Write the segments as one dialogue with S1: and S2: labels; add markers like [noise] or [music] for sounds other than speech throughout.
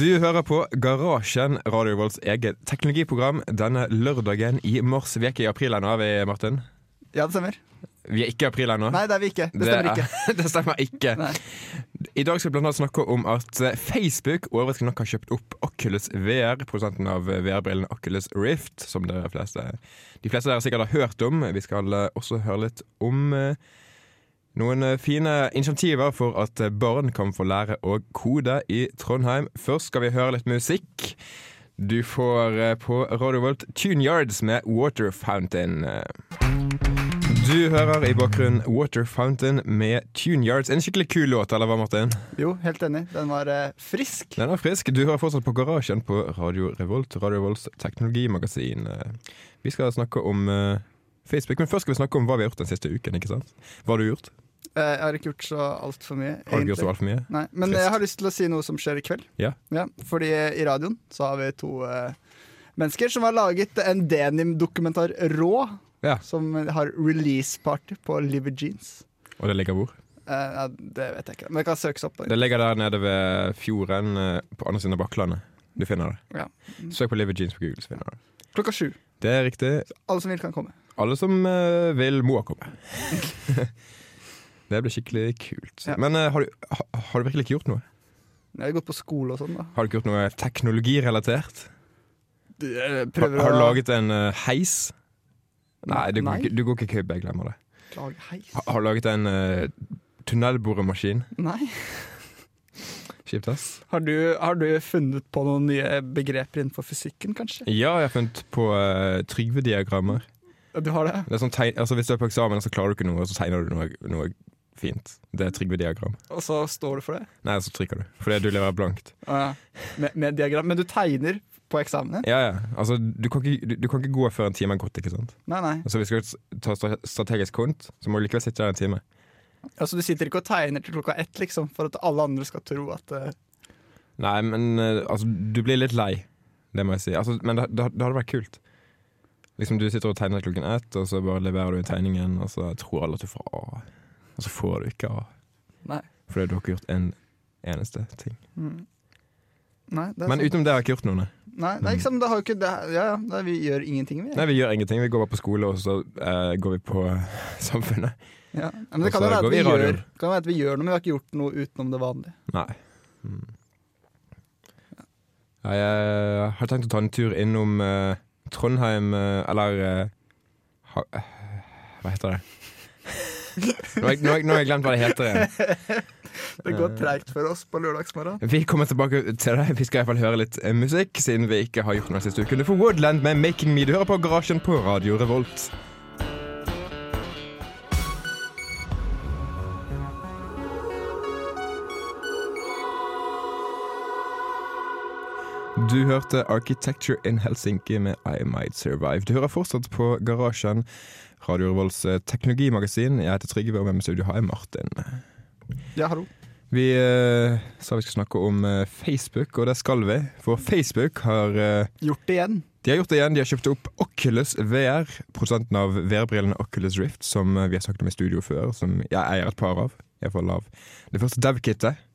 S1: Du hører på Garasjen, Radio Volts eget teknologiprogram. Denne lørdagen i mars. Vi er ikke i april ennå, er vi, Martin?
S2: Ja, det stemmer.
S1: Vi er ikke i april ennå.
S2: Nei, det er vi ikke. Det
S1: Det
S2: stemmer
S1: er-
S2: ikke.
S1: [laughs] det stemmer ikke.
S2: Nei.
S1: I dag skal vi blant annet snakke om at eh, Facebook overraskende nok har kjøpt opp Oculus VR, produsenten av eh, VR-brillene Oculus Rift, som dere fleste, de fleste av dere sikkert har hørt om. Vi skal eh, også høre litt om eh, noen eh, fine initiativer for at eh, barn kan få lære å kode i Trondheim. Først skal vi høre litt musikk. Du får eh, på Radio Volt Tune Yards med Water Fountain. eh. Du hører i bakgrunnen Water Fountain med Tune Yards. En skikkelig kul låt, eller hva, Martin?
S2: Jo, helt enig. Den var eh, frisk.
S1: Den er frisk. Du hører fortsatt på Garasjen på Radio Revolt, Radio Revolts teknologimagasin. Eh, Vi skal snakke om eh, Facebook, men først skal vi snakke om hva vi har gjort den siste uken. ikke sant? Hva har du gjort?
S2: Eh, jeg har ikke gjort så altfor mye.
S1: Har du
S2: egentlig.
S1: gjort så altfor mye?
S2: Nei, men eh,
S1: Trist.
S2: jeg har lyst til å si noe som skjer i kveld.
S1: Ja.
S2: fordi i radioen så har vi to eh, mennesker som har laget en denim-dokumentar Rå,
S1: Ja.
S2: som har release-party på Liver Jeans.
S1: Og det ligger hvor?
S2: Eh, ja, det vet jeg ikke, men det kan søkes opp. på det.
S1: Det ligger der nede ved fjorden, eh, på andre siden av Bakklandet. Du finner det.
S2: Ja.
S1: Søk på Liver Jeans på Google, så finner du det.
S2: Klokka sju.
S1: Det er riktig.
S2: Alle som vil, kan komme.
S1: Alle som eh, vil, må komme. [laughs] det blir skikkelig kult.
S2: Ja.
S1: Men eh, har, du, ha, har du virkelig ikke gjort noe?
S2: Jeg har gått på skole og sånn, da.
S1: Har du ikke gjort noe teknologirelatert?
S2: Eh,
S1: Har,
S2: Prøver
S1: har du
S2: å
S1: laget en eh, heis? Nei, du,
S2: Nei.
S1: Går, ikke- du går ikke kubbe, jeg glemmer det.
S2: Lage heis?
S1: Har, har du laget en eh, tunnelboremaskin?
S2: Nei.
S1: Kjipt, ass.
S2: Har du, har du funnet på noen nye begreper innenfor fysikken, kanskje?
S1: Ja, jeg har funnet på eh, Trygve-diagrammer.
S2: Ja, Du har det?
S1: Det er sånn tegn, altså, hvis du er på eksamen, så klarer du ikke noe, og så tegner du noe, noe fint. Det er Trygve-diagram.
S2: Og så står du for det?
S1: Nei, så trykker du, fordi du leverer blankt.
S2: Ja. Med, med diagram. Men du tegner på eksamen din?
S1: Ja, ja. Altså, du kan ikke, du, du kan ikke gå før en time er gått, ikke sant?
S2: Nei, nei.
S1: Altså, hvis du skal ta stra- strategisk kont, så må du likevel sitte der en time.
S2: Altså, du sitter ikke og tegner til klokka ett liksom, for at alle andre skal tro at eh,
S1: Nei, men eh, altså, du blir litt lei, det må jeg si. Altså, men det, det, det hadde vært kult. Liksom, du sitter og tegner klokken ett, og så bare leverer du inn tegningen, og så tror alle at du får A. Og så får du ikke A,
S2: Nei.
S1: fordi du har ikke gjort en eneste ting.
S2: Mm. Nei, det er
S1: Men
S2: sant.
S1: utenom det har jeg ikke gjort noe. nei.
S2: Nei, det er ikke sant, det har jo ikke det, er- Ja, ja, det er, vi gjør ingenting, vi.
S1: Nei, vi gjør ingenting. Vi går bare på skole, og så eh, går vi på samfunnet.
S2: Ja. Men det
S1: Og
S2: kan
S1: så
S2: jo
S1: går
S2: være at
S1: vi
S2: vi,
S1: i radioen.
S2: gjør, kan jo være at vi gjør noe, men vi har ikke gjort noe utenom det vanlige.
S1: Nei. Mm. Ja, jeg har tenkt å ta en tur innom eh, Trondheim, eh, eller eh, ha, eh, Hva heter det? Nå har jeg, nå har jeg, nå har jeg glemt hva det heter igjen.
S2: Det
S1: Eh.
S2: går treigt for oss på lørdagsmorgen.
S1: Vi kommer tilbake til det. Vi skal i hvert fall høre litt eh, musikk, siden vi ikke har gjort noe den siste uken. Du får Woodland med 'Making Me'. Du hører på Garasjen på Radio Revolt. Du hørte Architecture in Helsinki med I Might Survive. Du hører fortsatt på Garasjen, Radio Revolts eh, teknologimagasin. Jeg heter Trygve, og med meg i studio har jeg Martin.
S2: Ja, hallo.
S1: Vi eh, sa vi skulle snakke om eh, Facebook, og det skal vi. For Facebook har eh,
S2: Gjort det igjen.
S1: de har gjort det igjen. De har kjøpt opp Oculus VR, produsenten av VR-brillene Oculus Rift, som eh, vi har snakket om i studio før, som jeg eier et par av. Iallfall av det første dev-kittet.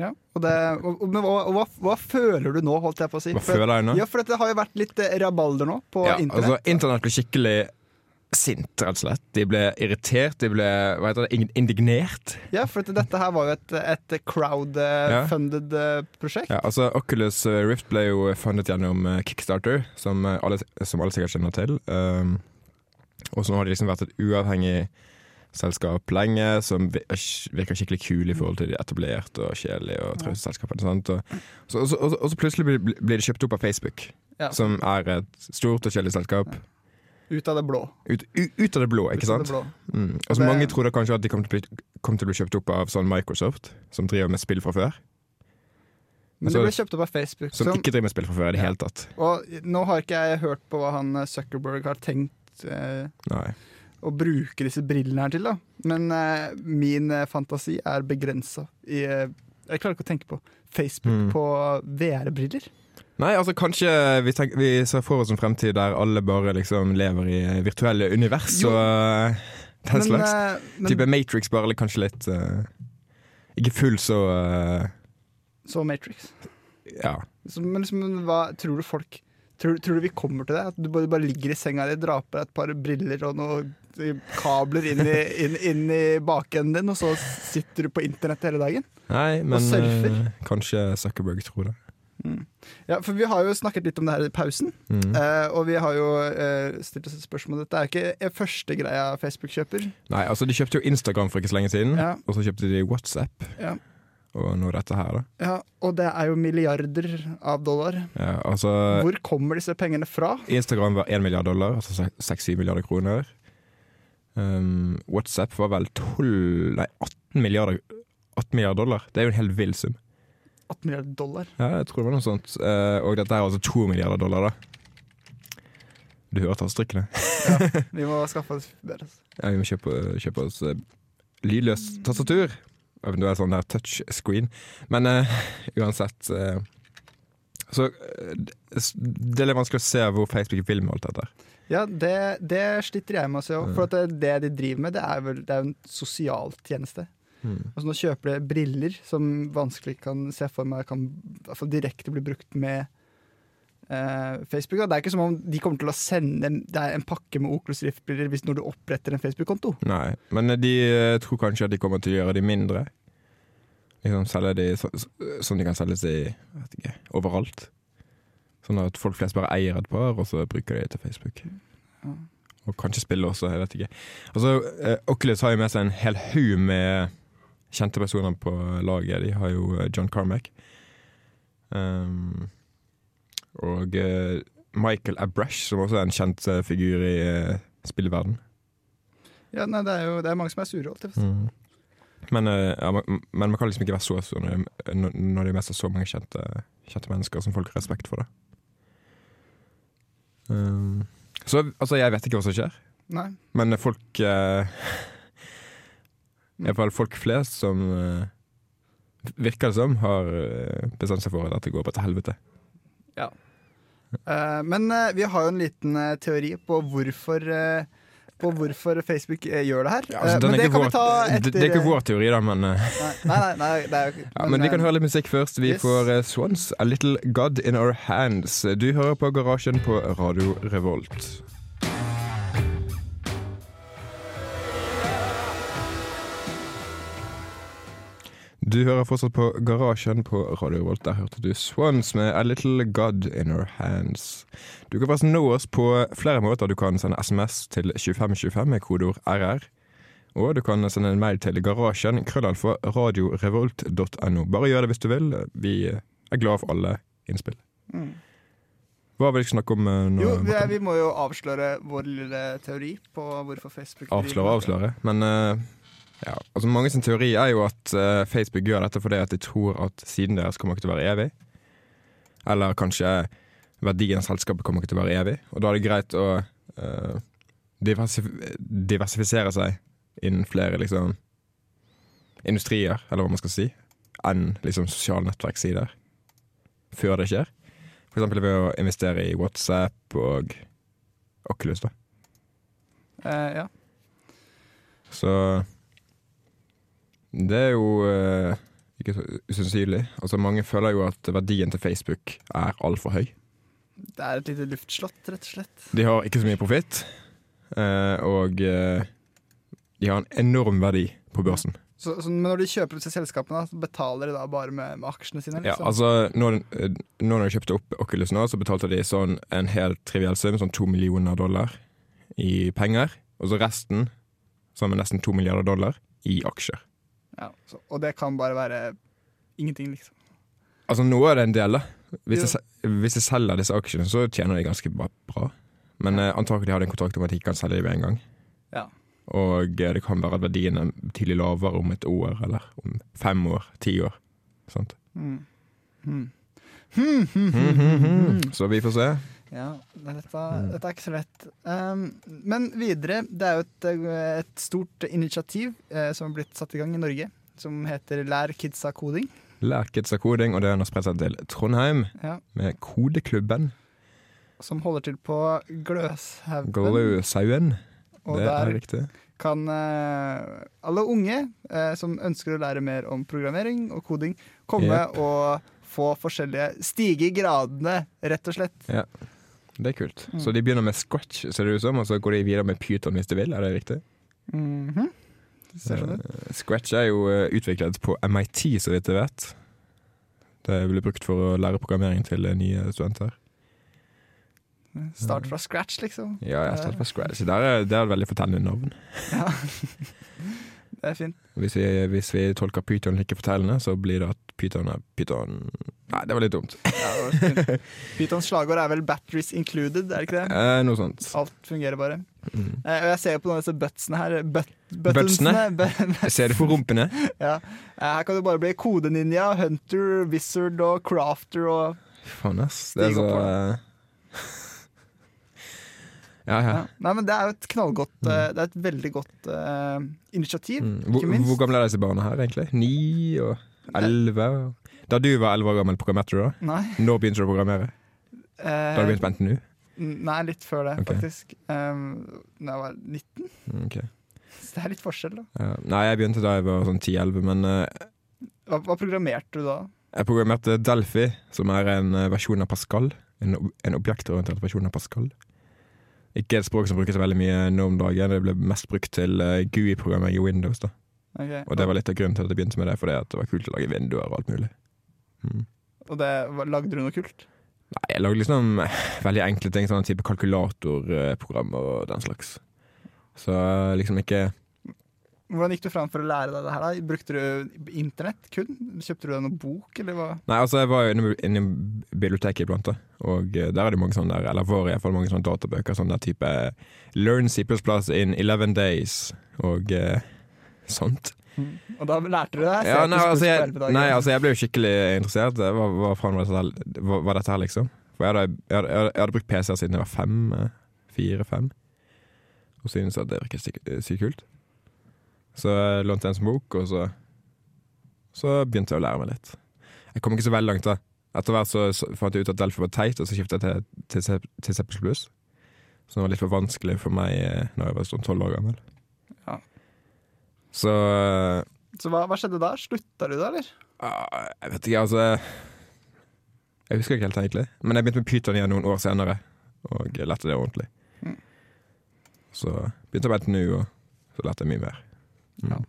S2: Ja. Og det, og, og, men hva, og hva, hva føler du nå, holdt jeg på å si?
S1: Hva
S2: For-
S1: føler jeg nå?
S2: Ja, for det har jo vært litt eh, rabalder nå på
S1: Ja,
S2: internett.
S1: Altså, internett ble skikkelig sint, rett og slett. De ble irritert, de ble hva heter det, ing- indignert.
S2: Ja, for at dette her var jo et, et crowdfunded eh, prosjekt.
S1: Ja, altså, Oculus eh, Rift ble jo fundet gjennom eh, Kickstarter, som eh, alle, som alle sikkert kjenner til. Um, og så nå har de liksom vært et uavhengig selskap lenge, som vi- eh, virker skikkelig kule i forhold til de etablerte og kjedelige og trauste selskapene. sant? Og så, og, så, og, så, og så plutselig blir- blir de kjøpt opp av Facebook,
S2: Ja.
S1: som er et stort og kjedelig selskap.
S2: Ut av det blå.
S1: Ut, u- ut av det blå, ikke
S2: Ut av det
S1: sant?
S2: blå.
S1: Mm. Altså,
S2: Det-
S1: mange trodde kanskje at de kom til, å bli, kom til å bli kjøpt opp av sånn Microsoft, som driver med spill fra før.
S2: Men
S1: Altså,
S2: det ble kjøpt opp av Facebook.
S1: Som
S2: som-
S1: ikke driver med spill fra før i det
S2: Ja.
S1: hele tatt.
S2: og nå har ikke jeg hørt på hva han eh, Zuckerberg har tenkt eh,
S1: Nei.
S2: å bruke disse brillene her til, da. Men eh, min eh, fantasi er begrensa i eh, Jeg klarer ikke å tenke på Facebook
S1: Mm.
S2: på VR-briller.
S1: Nei, altså kanskje vi, tenk, vi ser for oss en fremtid der alle bare liksom lever i virtuelle univers
S2: Jo.
S1: og eh, den
S2: Men,
S1: slags.
S2: eh, men
S1: type Matrix, bare litt- kanskje litt eh, Ikke full så eh,
S2: så Matrix.
S1: Ja.
S2: Så, men liksom, men hva tror du folk Tror, tror du vi kommer til det? At du bare, bare ligger i senga di, drar på deg et par briller og noen kabler inn i, inn, inn i bakenden din, og så sitter du på internett hele dagen?
S1: Nei, men
S2: surfer.
S1: eh, kanskje Zuckerberg tror det.
S2: Mm. Ja, for vi har jo snakket litt om det her i pausen,
S1: Mm.
S2: eh, og vi har jo eh, stilt oss et spørsmål. Dette er ikke første greia Facebook kjøper.
S1: Nei, altså De kjøpte jo Instagram for ikke så lenge siden,
S2: Ja.
S1: og så kjøpte de WhatsApp.
S2: Ja.
S1: Og nå dette her, da.
S2: Ja, og det er jo milliarder av dollar.
S1: Ja, altså,
S2: Hvor kommer disse pengene fra?
S1: Instagram var 1 milliard dollar, altså 6-7 milliarder kroner. Um, WhatsApp var vel 12 Nei, 18 milliarder, 18 milliarder dollar. Det er jo en helt vill sum.
S2: 18 milliarder dollar.
S1: Ja, jeg tror det var noe sånt. Eh, og dette er altså 2 milliarder dollar, da. Du hører tastestrikkene?
S2: Vi må skaffe oss bedre. altså.
S1: [laughs] Ja, vi må kjøpe, kjøpe oss eh, lydløst tastatur. Eventuelt sånn der touchscreen. Men eh, uansett eh, Så eh, det er litt vanskelig å se hvor Facebook vil med alt dette.
S2: Ja, det, det sliter jeg med å se òg. For at det, det de driver med, det er, vel, det er jo en sosial tjeneste. Altså Nå kjøper de briller som vanskelig kan se for meg kan i hvert fall direkte bli brukt med eh, Facebook. Da. Det er ikke som om de kommer til å sende en- det er en pakke med Oculus Rift-briller hvis når du oppretter en Facebook-konto.
S1: Nei, men de eh, tror kanskje at de kommer til å gjøre de mindre. Liksom selge de så, så- sånn de kan selges i vet ikke, overalt. Sånn at folk flest bare eier et par, og så bruker de det til Facebook.
S2: Ja.
S1: Og kanskje spille også, jeg vet ikke. Altså, eh, Oculus har jo med seg en hel haug med kjente personer på laget. De har jo eh, John Carmack. Um, og eh, Michael Abrash, som også er en kjent eh, figur i eh, spillverden.
S2: Ja, nei, Det er jo det er mange som er sure. Holdt, jeg på å si.
S1: Mm. Men, eh, ja, man, men man kan liksom ikke være så sur når, det- når- når det er mest av så mange kjente, kjente mennesker som folk har respekt for. Da. Um, så altså, jeg vet ikke hva som skjer,
S2: Nei.
S1: men folk eh, [laughs] I hvert fall folk flest som eh, virker det som, har eh, bestemt seg for at dette går bare til helvete.
S2: Eh, men eh, vi har jo en liten eh, teori på hvorfor eh, på hvorfor Facebook eh, gjør det her.
S1: Altså,
S2: Eh,
S1: den
S2: men
S1: er
S2: det
S1: ikke
S2: kan
S1: vår-
S2: vi ta etter
S1: det, det er ikke vår teori, da, men, eh,
S2: Nei, nei, nei, det er jo ikke
S1: ja, men vi kan
S2: eh,
S1: høre litt musikk først. Vi
S2: yes.
S1: får eh, Swans, A Little God In Our Hands. Du hører på Garasjen på Radio Revolt. Du hører fortsatt på Garasjen på Radio Revolt. Der hørte du Swans med A Little God In Our Hands. Du kan forresten nå oss på flere måter. Du kan sende SMS til 2525 med kodeord RR. Og du kan sende en mail til garasjen krøllalfa radiorevolt.no. Bare gjør det hvis du vil. Vi er glad for alle innspill.
S2: Mm.
S1: Hva vil dere snakke om eh, nå?
S2: Jo, vi,
S1: Martin?
S2: vi må jo avsløre vår lille teori på hvorfor Facebook driver med
S1: Avsløre,
S2: det.
S1: avsløre. Men eh, ja, altså mange sin teori er jo at eh, Facebook gjør dette fordi at de tror at siden deres kommer ikke til å være evig. Eller kanskje verdien av selskapet kommer ikke til å være evig. Og da er det greit å eh, diversif- diversifisere seg innen flere liksom, industrier, eller hva man skal si, enn liksom, sosiale nettverkssider før det skjer. For eksempel ved å investere i WhatsApp og Oculus. da.
S2: Eh, ja.
S1: Så det er jo eh, ikke så usannsynlig. Altså, mange føler jo at verdien til Facebook er altfor høy.
S2: Det er et lite luftslott, rett og slett.
S1: De har ikke så mye profitt, eh, og eh, de har en enorm verdi på børsen.
S2: Så, så, men når de kjøper ut seg selskapene, så betaler de da bare med, med aksjene sine?
S1: Ja,
S2: Liksom.
S1: altså, når, eh, nå når de kjøpte opp Oculus nå, så betalte de sånn en helt triviell sum, sånn to millioner dollar i penger, og så resten, sammen nesten to milliarder dollar, i aksjer.
S2: Ja, så, og det kan bare være ingenting, liksom.
S1: Altså nå er det en del da Hvis,
S2: Jo.
S1: jeg, se- hvis jeg selger disse aksjene Så tjener de ganske bra, bra. Men eh, antakelig har de en kontrakt om at de ikke kan selge dem med en gang
S2: Ja.
S1: Og eh, det kan være at verdien er betydelig lavere om et år Eller om fem år, ti år sant? Mhm,
S2: Mm. Mhm.
S1: Så vi får se
S2: Ja, nei, dette,
S1: Mm.
S2: dette er ikke så lett. Um, men videre, det er jo et, eh, et stort initiativ eh, som har blitt satt i gang i Norge, som heter Lær kidsa koding.
S1: Lærkets av koding Og det har spredt seg til Trondheim
S2: Ja,
S1: Med kodeklubben
S2: som holder til på Gløshaugen.
S1: Gløsauen
S2: og
S1: Det er
S2: der
S1: riktig
S2: kan eh, alle unge eh, som ønsker å lære mer om programmering og koding, komme
S1: Jep.
S2: og få forskjellige Stige i gradene, rett og slett.
S1: Det er kult.
S2: Mm.
S1: Så de begynner med scotch, ser det ut som, og så går de videre med pyton hvis de vil. Er det riktig?
S2: Mhm. Ser sånn ut.
S1: Eh, Scratch er jo eh, utviklet på MIT, så vidt jeg vet. Det ble brukt for å lære programmering til eh, nye studenter.
S2: Start fra scratch, liksom.
S1: Ja, jeg startet på Scratch. Der er, det er et veldig fortellende navn.
S2: Ja. Det
S1: [laughs]
S2: er fint.
S1: Hvis vi, hvis vi tolker pyton like fortellende, så blir det at pyton er pyton Nei, det var litt dumt.
S2: Ja, det var fint. Pythons slagord er vel 'batteries included', er det ikke det?
S1: Eh, noe sånt.
S2: Alt fungerer bare.
S1: Mm.
S2: Eh, Og jeg ser jo på noen av disse butsene her. But buttonsene. Bu-
S1: Ser du for rumpene?
S2: ja. Eh, [laughs] Her kan du bare bli kodeninja, hunter, wizard og crafter og
S1: Faen, ass. Det er
S2: Stig
S1: så
S2: opp
S1: eh, [laughs] Ja, ja.
S2: ja. Nei, men det er jo et knallgodt eh, Det er et veldig godt eh, initiativ,
S1: Mm. Hvor,
S2: ikke minst.
S1: hvor gamle er disse barna her, egentlig? Ni og elleve? Da du var elleve år gammel, programmerte du da?
S2: Nei.
S1: Når begynte du å programmere? Da har du
S2: Eh,
S1: begynt på NTNU?
S2: n- nei, litt før det,
S1: Ok.
S2: faktisk. Um, da jeg var 19.
S1: Mm, ok.
S2: Så [laughs] det er litt forskjell, da.
S1: Ja. Nei, jeg begynte da jeg var sånn 10-11, men eh,
S2: Hva, hva programmerte du da?
S1: jeg programmerte Delphi, som er en eh, versjon av Pascal. En, ob- en objektorientert versjon av Pascal. Ikke et språk som brukes veldig mye nå om dagen. Det ble mest brukt til eh, GUI-programmering i Windows. da
S2: Ok.
S1: Og det var litt av grunnen til at jeg begynte med det, fordi at det var kult å lage vinduer og alt mulig. Mm.
S2: Og det, hva- lagde du noe kult?
S1: Nei, jeg lagde liksom veldig enkle ting, sånn type kalkulatorprogrammer og den slags. Så eh, liksom ikke
S2: Hvordan gikk du fram for å lære deg det her? da? Brukte du internett kun? Kjøpte du deg noen bok, eller hva?
S1: Nei, altså jeg var jo inne inne i biblioteket iblant, da. Og eh, der er det mange sånne der, eller var i hvert fall mange sånne databøker, sånn der type Learn C++ in 11 days og eh, sånt.
S2: Og da lærte du det her?
S1: Mm. Ja, nei, altså, jeg, nei,
S2: altså.
S1: altså jeg ble jo skikkelig interessert. Det var- Hva faen var dette, her- hva- hva dette her, liksom? For jeg hadde, jeg, hadde, jeg, hadde, jeg hadde brukt PC-er siden jeg var fem. eh, Fire-fem. Og syntes at det virket syk- sykt kult. Så jeg lånte en som bok, og så, så begynte jeg å lære meg litt. Jeg kom ikke så veldig langt, da. Etter hvert så, så fant jeg ut at Delphi var teit, og så skiftet jeg til, til, C- til C++. Så det var litt for vanskelig for meg eh, når jeg var sånn tolv år gammel.
S2: Ja.
S1: Så eh,
S2: Så hva, hva skjedde da? Slutta du da, eller?
S1: Ah, Jeg vet ikke, altså Jeg husker ikke helt egentlig. Men jeg begynte med Python igjen noen år senere, og lærte det ordentlig.
S2: Mm.
S1: Så begynte jeg med NTNU, og så lærte jeg mye mer. Mm.
S2: Ja.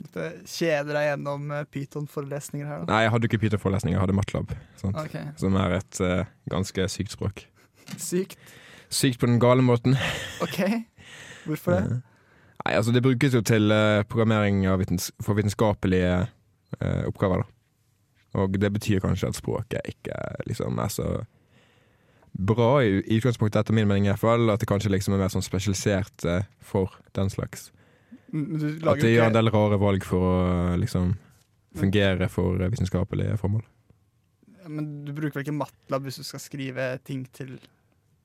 S2: Måtte kjede deg gjennom eh, Python-forelesninger her, da?
S1: Nei, jeg hadde ikke Python-forelesning, jeg hadde MATLAB, sant?
S2: Ok,
S1: som er et eh, ganske sykt språk.
S2: Sykt.
S1: Sykt på den gale måten.
S2: Ok. Hvorfor det?
S1: Nei, altså Det brukes jo til eh, programmering av vitens for vitenskapelige eh, oppgaver. da Og det betyr kanskje at språket ikke liksom er så bra i i utgangspunktet, etter min mening i hvert fall. At det kanskje liksom er mer sånn spesialisert eh, for den slags.
S2: Men Du
S1: At
S2: lager
S1: det
S2: jo
S1: gjør en
S2: ikke
S1: del rare valg for å eh, liksom fungere for eh, vitenskapelige formål.
S2: Men du bruker vel ikke MATLAB hvis du skal skrive ting til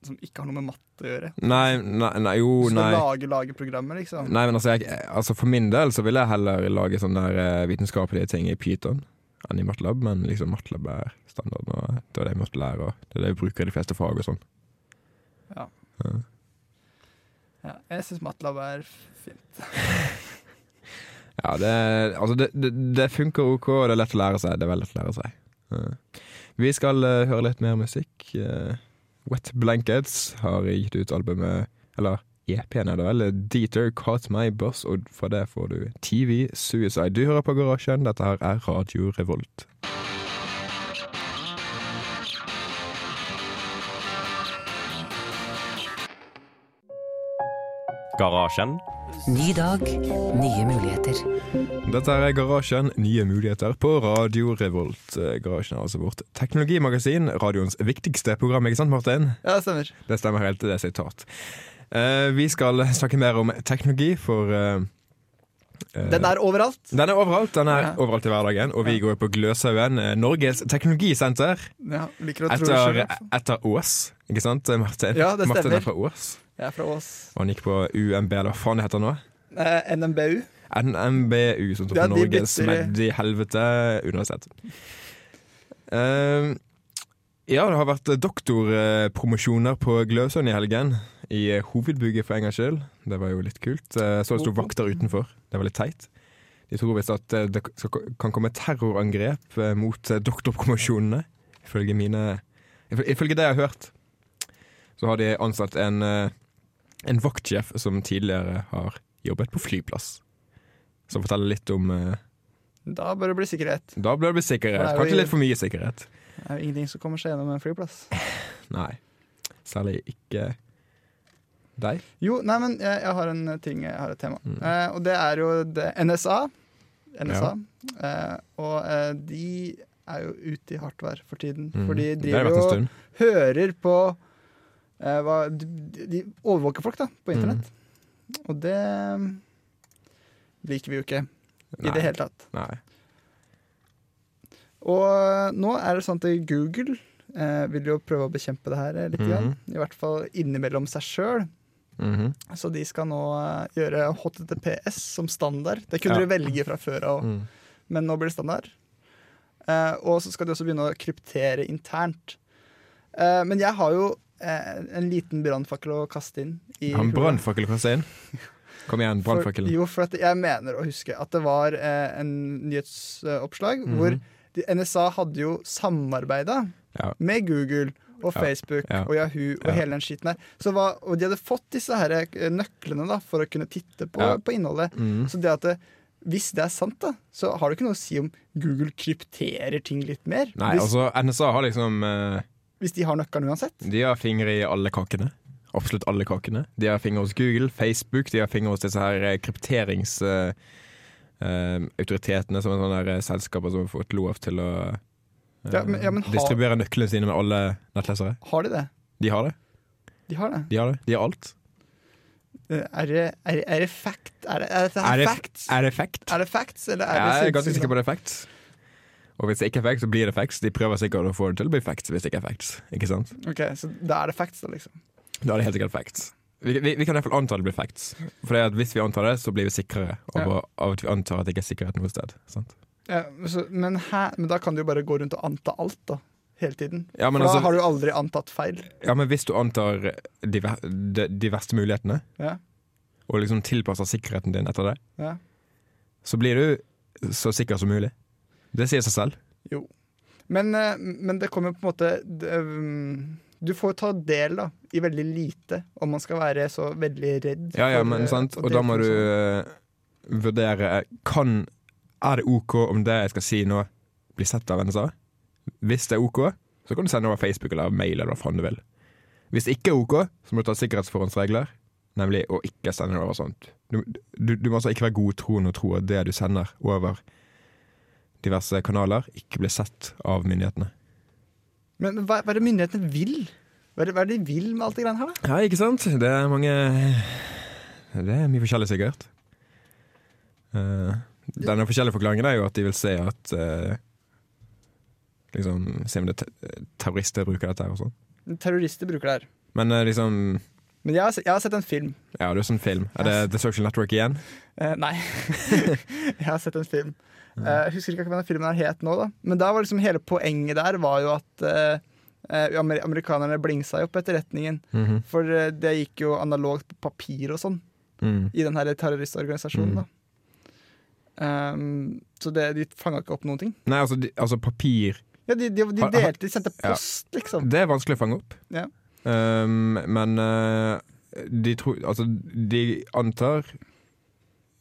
S2: som ikke har noe med matte å gjøre?
S1: Nei, nei, nei jo, Oh,
S2: Du skal
S1: nei.
S2: lage, lage programmer, liksom?
S1: Nei, men altså, jeg, altså For min del så ville jeg heller lage sånne der eh, vitenskapelige ting i Python enn i Matlab, men liksom Matlab er standarden, og det er det jeg måtte lære, og det er det vi bruker i de fleste fag og sånn.
S2: Ja.
S1: Ja.
S2: Ja, jeg syns MATLAB er fint.
S1: Ja, det, altså det, det, det funker ok, og det er lett å lære seg. Det er veldig lett å lære seg. Ja. Vi skal eh, høre litt mer musikk. Eh, Wet Blankets har gitt ut albumet Eller EP-en er det vel. Deeter Caught My Boss, og fra det får du TV Suicide. Du hører på Garasjen. Dette her er Radio Revolt.
S3: Garasjen.
S4: Ny dag, nye muligheter.
S1: Dette er Garasjen, nye muligheter på Radio Revolt. Eh, Garasjen er altså vårt teknologimagasin, radioens viktigste program, ikke sant, Martin?
S2: [laughs] Ja, det stemmer.
S1: Det stemmer helt, det er sitat. Eh, vi skal snakke mer om teknologi, for eh, eh,
S2: Den er overalt.
S1: den er overalt. Den er
S2: Ja.
S1: overalt i hverdagen, og vi går på Gløshaugen, eh, Norges teknologisenter,
S2: Ja, liker å tro det
S1: etter,
S2: selv. liksom.
S1: etter Ås. Ikke sant, Martin?
S2: Ja, det
S1: Martin
S2: stemmer.
S1: er fra Ås,
S2: Jeg er fra Ås.
S1: og han gikk på UMB, eller hva faen det heter nå?
S2: Eh, NMBU.
S1: NMBU, som står
S2: Ja,
S1: for
S2: de bytter-
S1: Norges smedde i helvete universitet. Ehm, ja, det har vært doktorpromosjoner på Gløsund i helgen. Eh, I hovedbygget, for en gangs skyld. Det var jo litt kult. Eh, Så det sto vakter utenfor. Det var litt teit. De tror visst at eh, det skal, kan komme terrorangrep eh, mot eh, doktorpromosjonene. Ifølge mine ifø- Ifølge det jeg har hørt, så har de ansatt en, eh, en vaktsjef som tidligere har jobbet på flyplass. Som forteller litt om eh,
S2: Da bør det bli sikkerhet.
S1: Da blir det sikkerhet.
S2: Nei, vi-
S1: Kanskje litt for mye sikkerhet.
S2: Det er jo ingenting som kommer seg gjennom en flyplass.
S1: Nei. Særlig ikke deg.
S2: Jo, nei, men jeg, jeg har en ting, jeg har et tema.
S1: Mm.
S2: Eh, og det er jo det, NSA. NSA. Eh, og eh, de er jo ute i hardt vær for tiden.
S1: Mm.
S2: For de
S1: Det har vært
S2: driver
S1: en
S2: Mhm. jo
S1: stund.
S2: hører på eh, hva, de, de overvåker folk da,
S1: Mm.
S2: på internett. Og det mm, liker vi jo ikke i
S1: Nei.
S2: det hele tatt.
S1: Nei.
S2: Og nå er det sånn at Google eh, vil jo prøve å bekjempe det her eh,
S1: Mm.
S2: litt. Igjen. I hvert fall innimellom seg sjøl.
S1: Mhm.
S2: Så de skal nå eh, gjøre HTTPS som standard. Det kunne
S1: Ja.
S2: de velge fra før av,
S1: Mm.
S2: men nå blir det standard. Eh, og så skal de også begynne å kryptere internt. Eh, men jeg har jo eh, en liten brannfakkel å kaste inn. i
S1: Har en
S2: hodet.
S1: brannfakkel kastet inn? Kom igjen,
S2: For-
S1: brannfakkelen.
S2: Jo, for at jeg mener å huske at det var eh, en nyhetsoppslag
S1: Mhm.
S2: hvor de, NSA hadde jo samarbeida
S1: Ja.
S2: med Google og
S1: Ja.
S2: Facebook
S1: Ja.
S2: og Yahoo og
S1: Ja.
S2: hele den skiten her. Så hva, og de hadde fått disse her eh, nøklene da, for å kunne titte på,
S1: Ja.
S2: på innholdet.
S1: Mm.
S2: Så det at det, hvis det er sant, da, så har det ikke noe å si om Google krypterer ting litt mer.
S1: Nei,
S2: hvis,
S1: altså, NSA har liksom eh,
S2: hvis de har nøkkelen uansett.
S1: De har fingre i alle kakene. Absolutt alle kakene. De har fingre hos Google, Facebook, de har fingre hos disse her eh, krypteringsautoritetene, eh, som er sånne der, eh, selskaper som har fått lov til å eh,
S2: Ja, men- ja, men har-
S1: distribuere nøklene sine med alle nettlesere.
S2: Har de det?
S1: De har det.
S2: De har det.
S1: De har det. De har alt.
S2: Eh, Er det, er, det- er det fact? Er det, er det,
S1: Er det-
S2: facts?
S1: Er det fact?
S2: Er det facts, eller er det
S1: Jeg er ganske
S2: sinnssyke?
S1: sikker på det er facts. Og hvis det ikke er facts, så blir det facts. De prøver sikkert å få det til å bli facts hvis det ikke er facts. Ikke sant?
S2: Ok, Så da er det facts, da, liksom.
S1: Da er det helt sikkert facts. Vi, vi, vi kan i hvert fall anta det blir facts. For det er at hvis vi antar det, så blir vi sikrere av, å- av at vi antar at det ikke er sikkerhet noe sted. Sant?
S2: Ja, så, men, hæ? men da kan du jo bare gå rundt og anta alt, da. Hele tiden.
S1: Ja, men
S2: For
S1: altså-
S2: da har du jo aldri antatt feil.
S1: Ja, men hvis du antar de, ver- de, de verste mulighetene,
S2: Ja,
S1: og liksom tilpasser sikkerheten din etter det,
S2: ja.
S1: så blir du så sikker som mulig. Det sier seg selv.
S2: Jo. Men, eh, men det kommer på en måte det, um, Du får ta del da, i veldig lite om man skal være så veldig redd.
S1: Ja, ja,
S2: for, eh,
S1: men sant?
S2: å
S1: Og da må du
S2: delta sånn.
S1: eh, vurdere eh, kan, Er det OK om det jeg skal si nå, blir sett av NSA? Hvis det er OK, så kan du sende over Facebook eller mail eller hva faen du vil. Hvis det ikke er OK, så må du ta sikkerhetsforhåndsregler, nemlig å ikke sende det over sånt. Du, du, du må altså ikke være godtroende og tro at det du sender over diverse kanaler, ikke blir sett av myndighetene.
S2: Men hva, hva er det myndighetene vil? Hva er, det, hva er det de vil med alt det greiene her, da?
S1: Ja, ikke sant? Det er mange Det er mye forskjellig, sikkert. Eh, denne forskjellige forklaringen er jo at de vil se at eh, Liksom Se om det er te terrorister bruker dette her og sånn.
S2: Terrorister bruker det her.
S1: Men eh, liksom
S2: Men jeg har, se- jeg har sett en film.
S1: Ja, det er sånn film. Er det The Social Network igjen?
S2: Eh, nei. [laughs] jeg har sett en film.
S1: Mm.
S2: Eh, Jeg husker ikke hva den filmen her het nå, da. Men da var liksom hele poenget der var jo at eh, eh, amer- amerikanerne blingsa jo på etterretningen.
S1: Mhm.
S2: For eh, det gikk jo analogt på papir og sånn
S1: Mm.
S2: i den her terroristorganisasjonen,
S1: Mm.
S2: da. Ehm, så det, de fanga ikke opp noen ting.
S1: Nei, altså, de, altså papir
S2: Ja, De, de, de
S1: Har- har-
S2: delte, de sendte
S1: Ja.
S2: post, liksom.
S1: Det er vanskelig å fange opp.
S2: Ja.
S1: Um, men eh, de tror Altså, de antar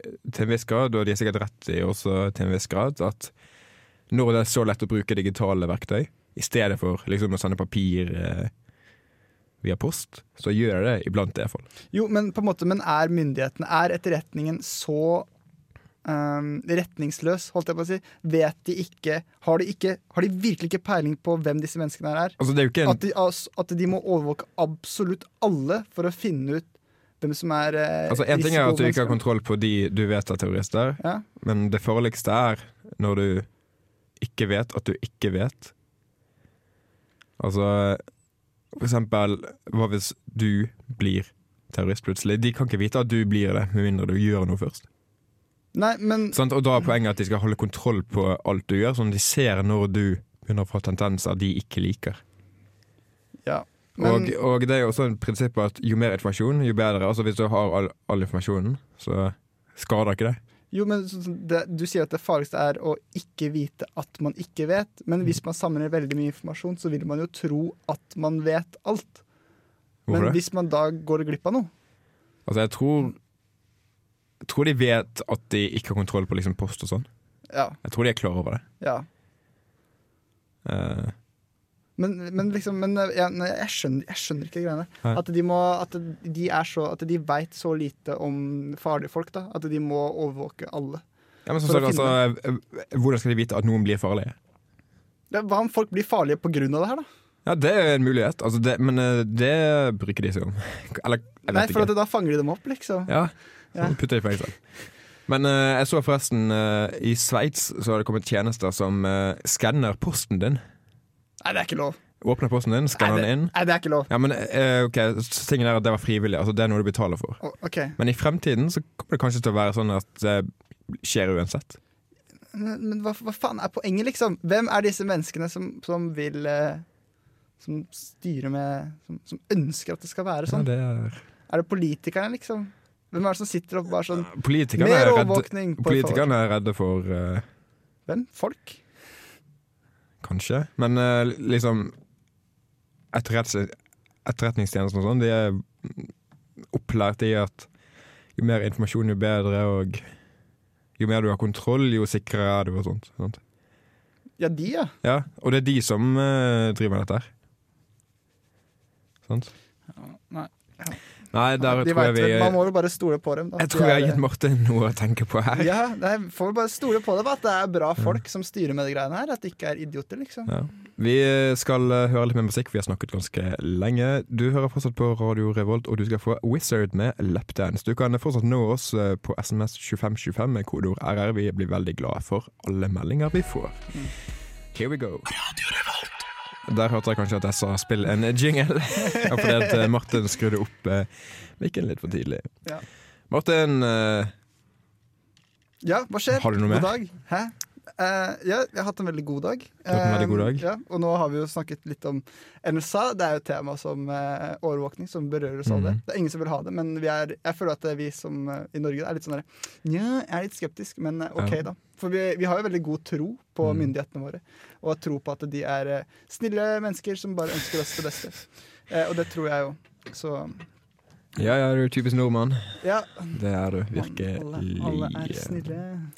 S1: eh, til en viss grad, og de har sikkert rett i også til en viss grad, at når det er så lett å bruke digitale verktøy, i stedet for liksom å sende papir eh, via post, så gjør jeg det iblant det, iallfall.
S2: Jo, men på en måte, men er myndighetene, er etterretningen så ehm, retningsløs, holdt jeg på å si? Vet de ikke har de, ikke har de virkelig ikke peiling på hvem disse menneskene her er?
S1: Altså, det er jo ikke en
S2: At de, as- at de må overvåke absolutt alle for å finne ut hvem som er eh,
S1: Altså, En ting er at du ikke har
S2: risikomennesken.
S1: kontroll på de du vet er terrorister,
S2: Ja.
S1: men det farligste er når du ikke vet at du ikke vet. Altså For eksempel, hva hvis du blir terrorist plutselig? De kan ikke vite at du blir det, med mindre du gjør noe først.
S2: Nei, men
S1: Sant? Og da er poenget at de skal holde kontroll på alt du gjør, sånn at de ser når du begynner å få tendenser de ikke liker.
S2: Ja.
S1: Og,
S2: Men,
S1: og det er jo også et prinsipp at jo mer informasjon, jo bedre. Altså Hvis du har all, all informasjonen, så skader ikke det.
S2: Jo, men så- så det, Du sier at det farligste er å ikke vite at man ikke vet. Men
S1: Mm.
S2: hvis man samler veldig mye informasjon, så vil man jo tro at man vet alt.
S1: Hvorfor
S2: Men
S1: det?
S2: hvis man da går glipp av noe
S1: Altså, jeg tror Jeg tror de vet at de ikke har kontroll på liksom, post og sånn.
S2: Ja.
S1: Jeg tror de er klar over det.
S2: ja.
S1: Eh,
S2: Men, men liksom men ja, nei, jeg, skjønner, jeg skjønner ikke greiene.
S1: Nei.
S2: At de, må, at de, er så, at de veit så lite om farlige folk da, at de må overvåke alle.
S1: ja, men som
S2: For
S1: sagt,
S2: å
S1: altså, eh, hvordan skal de vite at noen blir farlige?
S2: Ja, Hva om folk blir farlige pga. det her, da?
S1: Ja, det er en mulighet, altså det, men eh, det bryr ikke de seg om. [laughs] Eller, jeg vet
S2: Nei,
S1: ikke.
S2: for at da fanger de dem opp, liksom.
S1: Ja,
S2: Ja.
S1: putter i fengsel. Men eh, jeg så forresten eh, i Sveits så har det kommet tjenester som eh, skanner posten din.
S2: Nei, det er ikke lov.
S1: Åpner posten din,
S2: Nei,
S1: skanner
S2: det,
S1: den inn.
S2: nei, det er ikke lov.
S1: Ja, men eh, ok, så tingen er at det var frivillig, altså det er noe du betaler for.
S2: Å, OK.
S1: Men i fremtiden så kommer det kanskje til å være sånn at det skjer uansett.
S2: Men, men hva, hva faen er poenget, liksom? Hvem er disse menneskene som, som vil eh, Som styrer med som, som ønsker at det skal være
S1: Ja,
S2: sånn?
S1: det er...
S2: Er det politikerne, liksom? Hvem er det som sitter oppe og bare sånn
S1: Politikerne
S2: Mer
S1: er redde,
S2: overvåkning! por favor».
S1: politikerne er redde for... eh,
S2: Hvem? Folk?
S1: Kanskje. Men eh, liksom etterretts- Etterretningstjenesten og sånn, de er opplært i at jo mer informasjon, jo bedre, og jo mer du har kontroll, jo sikrere er du, og sånt. Sant?
S2: Ja, de, ja.
S1: Ja, og det er de som eh, driver med dette her. Sant?
S2: Nei,
S1: Nei, der
S2: de
S1: tror jeg
S2: vet
S1: vi
S2: det. Man må jo bare stole på dem. Da.
S1: Jeg
S2: De
S1: tror jeg har
S2: er-
S1: gitt Martin noe å tenke på her.
S2: Ja, nei, får vi bare stole på det, da, at det er bra folk som styrer med de greiene her. At de ikke er idioter, liksom.
S1: Ja. Vi skal eh, høre litt mer musikk, vi har snakket ganske lenge. Du hører fortsatt på Radio Revolt, og du skal få Wizard med Lapdance. Du kan fortsatt nå oss eh, på SMS 2525 med kodeord RR. Vi blir veldig glade for alle meldinger vi får.
S2: Mm.
S1: Here we go. Der hørte jeg kanskje at jeg sa 'spill en jingle', Ja, fordi at eh, Martin skrudde opp eh, mikken litt for tidlig.
S2: Ja.
S1: Martin, eh,
S2: Ja, hva skjer?
S1: Har du noe mer?
S2: God dag. Hæ? Eh, ja, jeg har hatt en veldig god dag.
S1: har hatt en veldig god
S2: Eh,
S1: dag.
S2: ja, og nå har vi jo snakket litt om NSA. Det er jo et tema som eh, overvåkning, som berører oss
S1: Mm.
S2: alle. Det er ingen som vil ha det, men vi er, jeg føler at vi som eh, i Norge er litt sånn der Nja, jeg er litt skeptisk, men eh, OK,
S1: Ja.
S2: da. For vi, vi har jo veldig god tro på
S1: Mm.
S2: myndighetene våre, og tro på at de er eh, snille mennesker som bare ønsker oss det beste. Eh, og det tror jeg jo. Så
S1: ja ja, du er typisk nordmann.
S2: ja,
S1: Det er du
S2: Man,
S1: virkelig.
S2: Alle, alle er snille.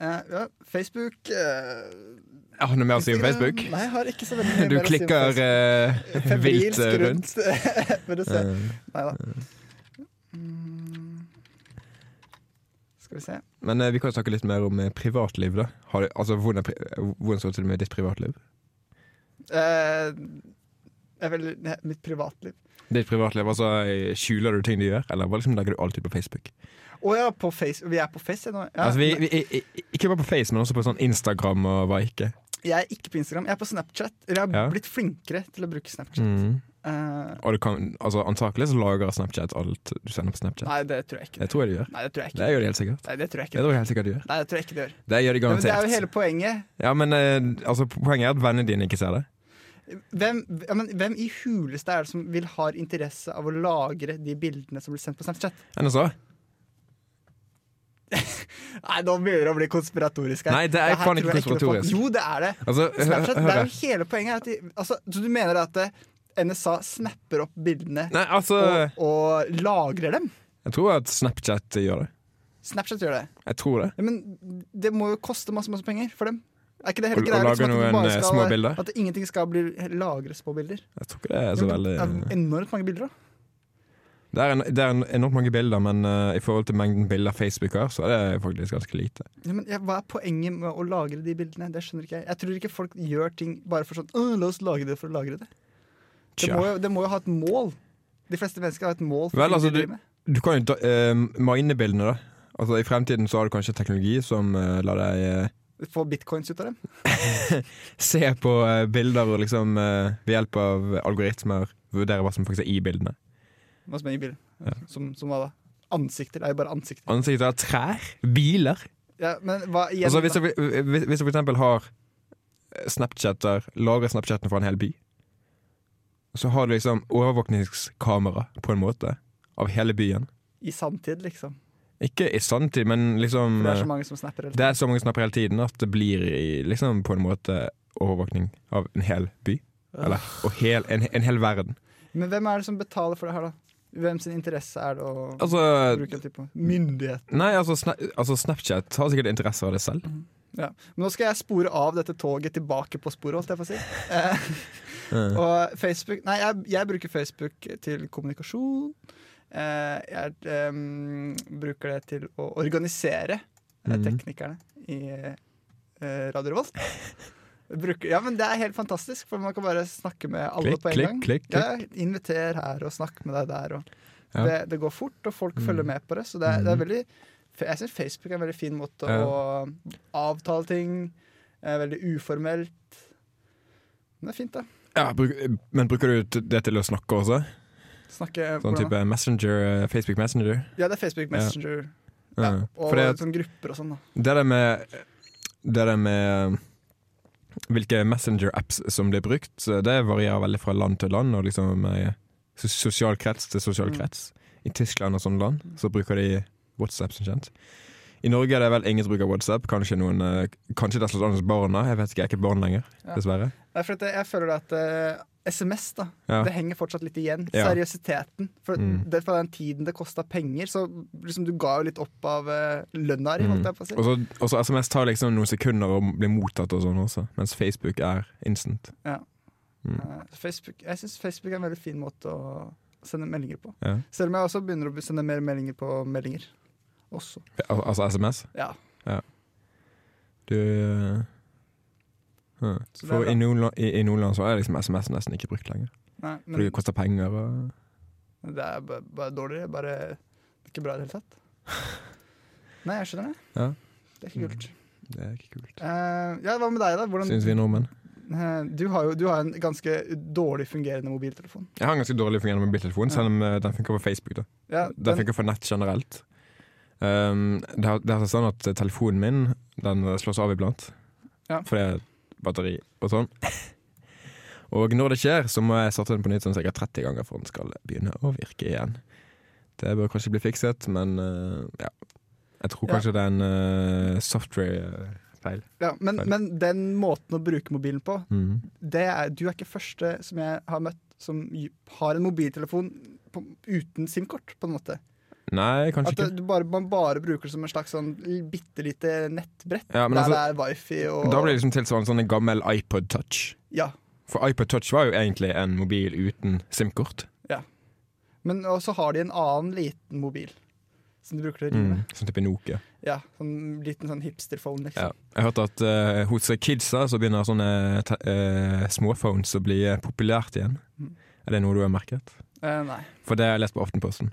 S2: Eh, ja, Facebook eh,
S1: Jeg har du noe mer å si om
S2: Instagram-
S1: Facebook.
S2: Nei, jeg har ikke så veldig mye
S1: Du
S2: mer å si om
S1: klikker
S2: Facebook. [laughs]
S1: eh, vilt
S2: Febrilsk
S1: eh, rundt.
S2: [laughs] Vil du se.
S1: Eh,
S2: Nei da. Mm. Skal vi se.
S1: Men eh, vi kan jo snakke litt mer om eh, privatliv, da. Har du, altså, hvordan, er pri- hvordan står det til med ditt privatliv?
S2: Eh, jeg vil, ne, mitt privatliv.
S1: Ditt privatliv, altså eh, Skjuler du ting du gjør, eller bare liksom legger du alltid på Facebook?
S2: Å ja, på Face, vi er på Face jeg, nå. Ja,
S1: altså, vi, vi, i- i- ikke bare på Face, men også på sånn Instagram og hva ikke.
S2: Jeg er ikke på Instagram, jeg er på Snapchat. Eller jeg har
S1: Ja.
S2: blitt flinkere til å bruke Snapchat.
S1: Mm.
S2: Eh,
S1: Og du kan, altså, antakelig så lager Snapchat alt du sender på Snapchat.
S2: nei, det tror jeg ikke.
S1: Det tror jeg de gjør.
S2: Nei, det tror jeg ikke.
S1: Det gjør de helt sikkert.
S2: Nei, det tror jeg
S1: Det
S2: ikke.
S1: tror jeg helt sikkert de gjør.
S2: Nei, det tror jeg ikke det gjør.
S1: Det gjør de
S2: Ja, men det
S1: garantert.
S2: er jo hele poenget.
S1: Ja, men eh, altså, poenget er at vennene dine ikke ser det.
S2: Hvem, ja, men, hvem i huleste er det som vil ha interesse av å lagre de bildene som blir sendt på Snapchat?
S1: NSA?
S2: Nei, nå begynner det å bli konspiratorisk her.
S1: Nei, det er
S2: her
S1: faen ikke
S2: tror jeg noe på.
S1: konspiratorisk.
S2: Jo, det er det.
S1: Altså, hø-
S2: Snapchat, det
S1: hør
S2: er
S1: her.
S2: jo hele poenget her. At de, altså, så du mener at eh, NSA snapper opp bildene
S1: Nei, altså
S2: og, og lagrer dem?
S1: Jeg tror at Snapchat gjør det.
S2: Snapchat gjør det.
S1: Jeg tror det.
S2: Ja, men det må jo koste masse, masse penger for dem. Er ikke det hele
S1: Å- å
S2: greia?
S1: lage
S2: liksom, at du
S1: noen,
S2: bare
S1: eh,
S2: skal-
S1: små bilder?
S2: At ingenting skal bli lagres på bilder.
S1: Jeg tror ikke det er
S2: Ja,
S1: så
S2: men
S1: veldig
S2: det er enormt mange bilder, da.
S1: Det er, en, det er en enormt mange bilder, men eh, i forhold til mengden bilder Facebook har, så er det faktisk ganske lite.
S2: Ja, men ja, Hva er poenget med å lagre de bildene? Det skjønner ikke jeg. Jeg tror ikke folk gjør ting bare for sånn «Åh, La oss lage det for å lagre det. Det
S1: Tja.
S2: må, jo, det må jo ha et mål. De fleste mennesker har et mål. For
S1: Vel,
S2: ting de
S1: altså,
S2: driver med.
S1: Du kan jo da, eh, mine bildene, da. Altså I fremtiden så har du kanskje teknologi som eh, lar deg eh,
S2: Få bitcoins ut av dem.
S1: se på eh, bilder og liksom eh, ved hjelp av algoritmer vurdere hva som faktisk er i bildene.
S2: Hva som er i bilen. Som, som hva da? Ansikter er jo bare ansikter.
S1: Ansikter av trær, biler
S2: Ja, men hva igjen?
S1: Altså Hvis
S2: da?
S1: du, hvis, hvis du for eksempel har eh, Snapchatter, lagrer Snapchatten for en hel by, så har du liksom overvåkningskamera på en måte av hele byen.
S2: I samtid, liksom.
S1: Ikke i sanntid, men liksom
S2: For det er så
S1: eh,
S2: mange som snapper. hele
S1: Det er så mange snapper hele tiden at det blir i, liksom på en måte overvåkning av en hel by. Eller og hel, en, en hel verden.
S2: tiden. Men hvem er det som betaler for det her, da? Hvem sin interesse er det å
S1: Altså
S2: bruke den typen? Myndighet.
S1: Nei, altså, sna altså Snapchat har sikkert interesse av det selv.
S2: Ja. Men nå skal jeg spore av dette toget tilbake på sporet, holdt jeg på å si.
S1: [laughs]
S2: Eh,
S1: Eh,
S2: og Facebook Nei, jeg, jeg bruker Facebook til kommunikasjon. Eh, jeg em, bruker det til å organisere eh,
S1: Mhm.
S2: teknikerne i eh, Radio Revolt. Bruker, ja, men det er helt fantastisk, for man kan bare snakke med alle
S1: Klikk,
S2: på en
S1: klikk,
S2: gang.
S1: klikk, klikk.
S2: Ja, inviter her og snakk med deg der. Og
S1: Ja. Mm.
S2: det, det går fort, og folk følger med på det. Så det, er- det er veldig fe- Jeg syns Facebook er en veldig fin måte
S1: Ja.
S2: å avtale ting eh, Veldig uformelt. Men det er fint, det.
S1: Ja, bruk, men bruker du t- det til å snakke også?
S2: Snakke
S1: Sånn
S2: hvordan da?
S1: type Messenger, eh, Facebook Messenger?
S2: Ja, det er Facebook Messenger.
S1: Ja.
S2: Ja. Og
S1: For det,
S2: sånn grupper og sånn. da
S1: det der med Det der med eh, hvilke Messenger-apps som blir brukt, så det varierer veldig fra land til land, og liksom eh, sos- sosial krets til sosial
S2: Mm.
S1: krets. I Tyskland og sånne land så bruker de WhatsApp, som kjent. I Norge er det vel ingen som bruker WhatsApp, kanskje noen eh, Kanskje Desla Daniels barna. Jeg vet ikke, jeg er ikke barn lenger,
S2: Ja.
S1: dessverre.
S2: Nei, for at jeg, jeg føler at eh, SMS da
S1: Ja.
S2: Det henger fortsatt litt igjen.
S1: Ja.
S2: Seriøsiteten. For
S1: Mm.
S2: det er Fra den tiden det kosta penger, så liksom du ga jo litt opp av eh, lønna di,
S1: Mm.
S2: holdt jeg på å si.
S1: Og så- Og så SMS tar liksom noen sekunder å bli mottatt og sånn også, mens Facebook er instant.
S2: Eh, Facebook, jeg syns Facebook er en veldig fin måte å sende meldinger på.
S1: Ja.
S2: Selv om jeg også begynner å sende mer meldinger på meldinger. Også.
S1: Al altså SMS.
S2: Ja.
S1: Du eh, hm.
S2: Så det er
S1: For
S2: bra.
S1: i noen, la- i, i noen land så er liksom SMS nesten ikke brukt lenger.
S2: Nei,
S1: Fordi
S2: men
S1: det koster penger og
S2: det er bare, bare dårlig. Bare det er ikke bra i det
S1: [laughs]
S2: hele tatt. Nei, jeg skjønner det.
S1: Ja.
S2: Det er ikke kult.
S1: Det er ikke kult.
S2: Eh, ja, hva med deg, da? Hvordan,
S1: Syns vi nordmenn.
S2: Eh, du, har jo, du har en ganske dårlig fungerende mobiltelefon.
S1: Jeg har en ganske dårlig fungerende mobiltelefon, selv om eh, den funker på Facebook. da
S2: Ja,
S1: Den
S2: den-
S1: funker for nett generelt. Um, det, har- det er sånn at telefonen min Den slås av iblant.
S2: Ja.
S1: Fordi jeg har batteri og sånn. Og når det skjer, så må jeg starte den på nytt sånn sikkert 30 ganger for den skal begynne å virke igjen. Det bør kanskje bli fikset, men eh, ja. Jeg tror
S2: Ja.
S1: kanskje det er en eh, software-feil.
S2: ja, men, men den måten å bruke mobilen på
S1: Mhm.
S2: det er, Du er ikke første som jeg har møtt som ju- har en mobiltelefon på, uten SIM-kort, på en måte.
S1: Nei, kanskje
S2: At
S1: ikke.
S2: det, du bare, man bare bruker det som en slags sånn bitte lite nettbrett.
S1: Ja, men
S2: der
S1: altså,
S2: det er wifi og
S1: da blir det liksom tilsvarende sånn en gammel iPod Touch.
S2: Ja.
S1: For iPod Touch var jo egentlig en mobil uten SIM-kort.
S2: Men også har de en annen liten mobil som de bruker til å rive.
S1: Mm. Sånn type Nokia.
S2: Ja, sånn liten sånn hipsterphone,
S1: Ja.
S2: liksom.
S1: Jeg hørte at eh, hos kidsa så begynner sånne te eh, småphones å bli eh, populært igjen.
S2: Mm.
S1: Er det noe du har merket?
S2: Eh, nei.
S1: For det har jeg lest på Aftenposten.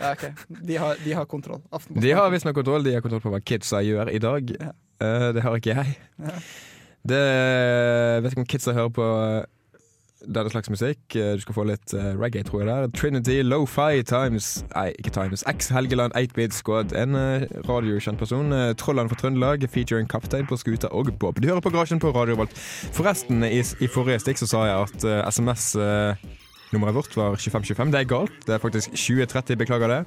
S2: Ja, ok. De har, de har kontroll. Aftenposten.
S1: De har visstnok kontroll de har kontroll på hva kidsa gjør i dag.
S2: Ja.
S1: Eh, det har ikke jeg.
S2: Ja.
S1: Det eh, vet ikke om kidsa hører på eh, denne slags musikk. Eh, Du skal få litt eh, reggae, tror jeg det er. Trinity Lo-Fi Times Nei, ikke Times. X Helgeland 8-Bit Squad. En eh, radiokjent person. Eh, Trollene fra Trøndelag, featuring kaptein på skuta og Bob. Du hører på Garasjen på Radio Volt. Forresten, i, i forrige stikk så sa jeg at eh, SMS eh, Nummeret vårt var 2525. Det er galt. Det er faktisk 2030. Beklager det.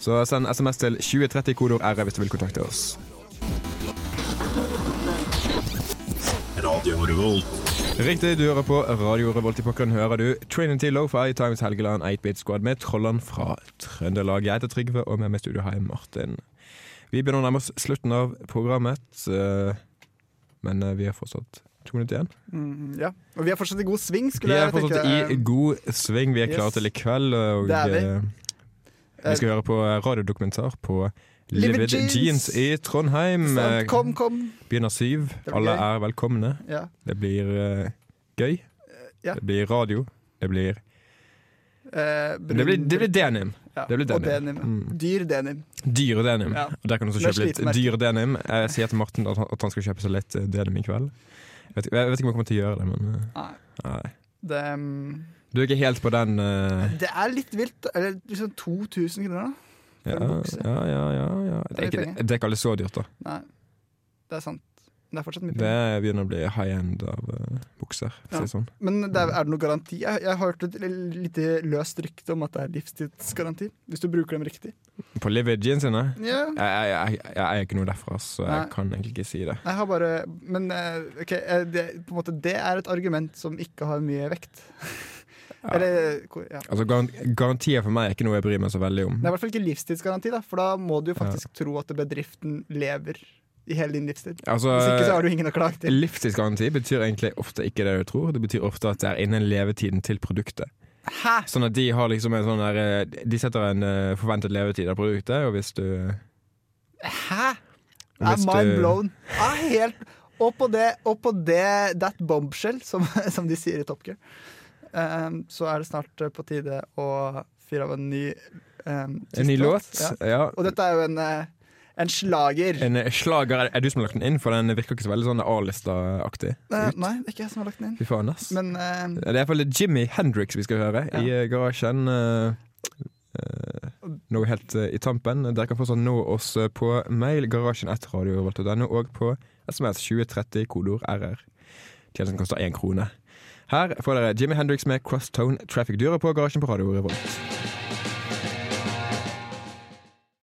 S1: Så send SMS til 2030 kodord RR hvis du vil kontakte oss. Riktig, du hører på Radio Revolt i pokkeren. Hører du Trinity Lo-Fi Times Helgeland 8-Bit Squad med Trolland fra Trøndelag. Jeg heter Trygve, og med meg i studio har jeg Martin. Vi begynner å nærme oss slutten av programmet, eh, men eh, vi har fortsatt to minutter igjen.
S2: Mm, ja. Og vi er fortsatt i god sving,
S1: Vi
S2: skulle
S1: er
S2: jeg tenke. eh,
S1: fortsatt i god sving. Vi er klare
S2: yes.
S1: til i kveld. Og,
S2: Det er vi.
S1: eh, vi skal høre på eh, radiodokumentar på
S2: Livid
S1: Livid Jeans.
S2: Jeans
S1: i Trondheim. Eh,
S2: Sant, Kom, kom!
S1: Begynner syv.
S2: blir
S1: Alle
S2: gøy.
S1: er velkomne.
S2: Ja.
S1: Det blir eh, gøy.
S2: ja.
S1: Det blir radio. Det blir
S2: Eh, brun-
S1: Det blir, det blir denim.
S2: ja.
S1: det blir
S2: Og
S1: denim. Mm.
S2: denim. Dyr denim.
S1: Dyre denim.
S2: Ja.
S1: Og der kan du også
S2: Med
S1: kjøpe litt
S2: slitemerke.
S1: dyre denim. Jeg sier til Morten at han, at han skal kjøpe seg litt eh, denim i kveld. Jeg vet, ikke- jeg vet ikke om jeg kommer til å gjøre det, men eh,
S2: Nei.
S1: nei.
S2: Det, mm,
S1: Du er ikke helt på den eh,
S2: det er litt vilt. Eller liksom 2000 kroner, da.
S1: ja,
S2: en bukse.
S1: ja, ja, ja, ja. Det, er ikke,
S2: penger.
S1: det er ikke alle så dyrt, da.
S2: Nei, det er sant. Men Det er fortsatt mye
S1: Det
S2: penger.
S1: begynner å bli high end av eh, bokser. for å Si det sånn.
S2: Men det er, er det noe garanti? Jeg, jeg har hørt et l- lite løst rykte om at det er livstidsgaranti. Hvis du bruker dem riktig.
S1: På Livid Gin sine?
S2: Ja,
S1: Jeg, jeg, jeg, jeg er ikke noe derfra, så jeg
S2: Mm. Nei.
S1: kan egentlig ikke si det.
S2: jeg har bare Men eh, ok, eh, det, på en måte, det er et argument som ikke har mye vekt.
S1: Ja.
S2: Eller hvor- ja.
S1: Altså, garan- Garantier for meg er ikke noe jeg bryr meg så veldig om.
S2: Det er i hvert fall ikke livstidsgaranti, da, for da må du jo faktisk tro at bedriften lever i hele din livstid.
S1: Altså,
S2: Hvis ikke så har du ingen å klage til.
S1: Livstidsgaranti betyr egentlig ofte ikke det du tror. Det betyr ofte at det er innen levetiden til produktet.
S2: Hæ?
S1: Sånn at de har liksom en sånn der eh, De setter en eh, forventet levetid av produktet, og hvis du eh,
S2: Hæ?
S1: Hvis
S2: I'm mind
S1: du-
S2: blown. Jeg er helt Og på det, og på det that bombshell, som, [laughs] som de sier i Top Gear, ehm, så er det snart eh, på tide å fyre av en ny ehm,
S1: En ny
S2: siste
S1: låt.
S2: Ja.
S1: Ja.
S2: Og dette er jo en, eh, en slager.
S1: En eh, slager er, er du som har lagt den inn, for den virker ikke så veldig sånn A-lista-aktig.
S2: Eh, nei, det er ikke jeg som har lagt den inn.
S1: Fy faen, ass.
S2: Men ehm,
S1: det er i hvert fall Jimmy Hendrix vi skal høre i eh, garasjen. eh, eh, noe helt eh, i tampen. Dere kan fortsatt nå oss eh, på mail garasjen etter radiorevolt.no og på SMS 2030 kodeord RR. Tjenesten koster én krone. Her får dere Jimmy Hendrix med Crosstown Traffic Dyret på garasjen på Radio Revolt.